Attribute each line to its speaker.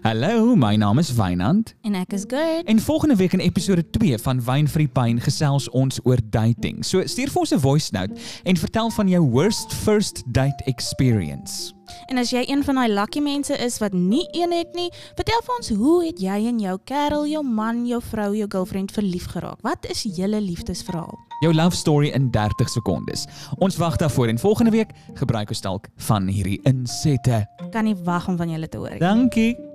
Speaker 1: Hallo, mijn naam is Wynand.
Speaker 2: En ek is good.
Speaker 1: En volgende week in episode 2 van Wine Free Pine gesels ons oor dating. So stuur vir ons 'n voice note en vertel van jou worst first date experience.
Speaker 2: En as jy een van daai lucky mense is wat nie een het nie, vertel vir ons hoe het jy en jou kerel, jou man, jou vrou, jou girlfriend verlief geraak? Wat is julle liefdesverhaal?
Speaker 1: Jou love story in 30 sekondes. Ons wag daarvoor en volgende week gebruik ons dalk van hierdie insette.
Speaker 2: Kan nie wag om van julle te hoor nie.
Speaker 1: Dankie.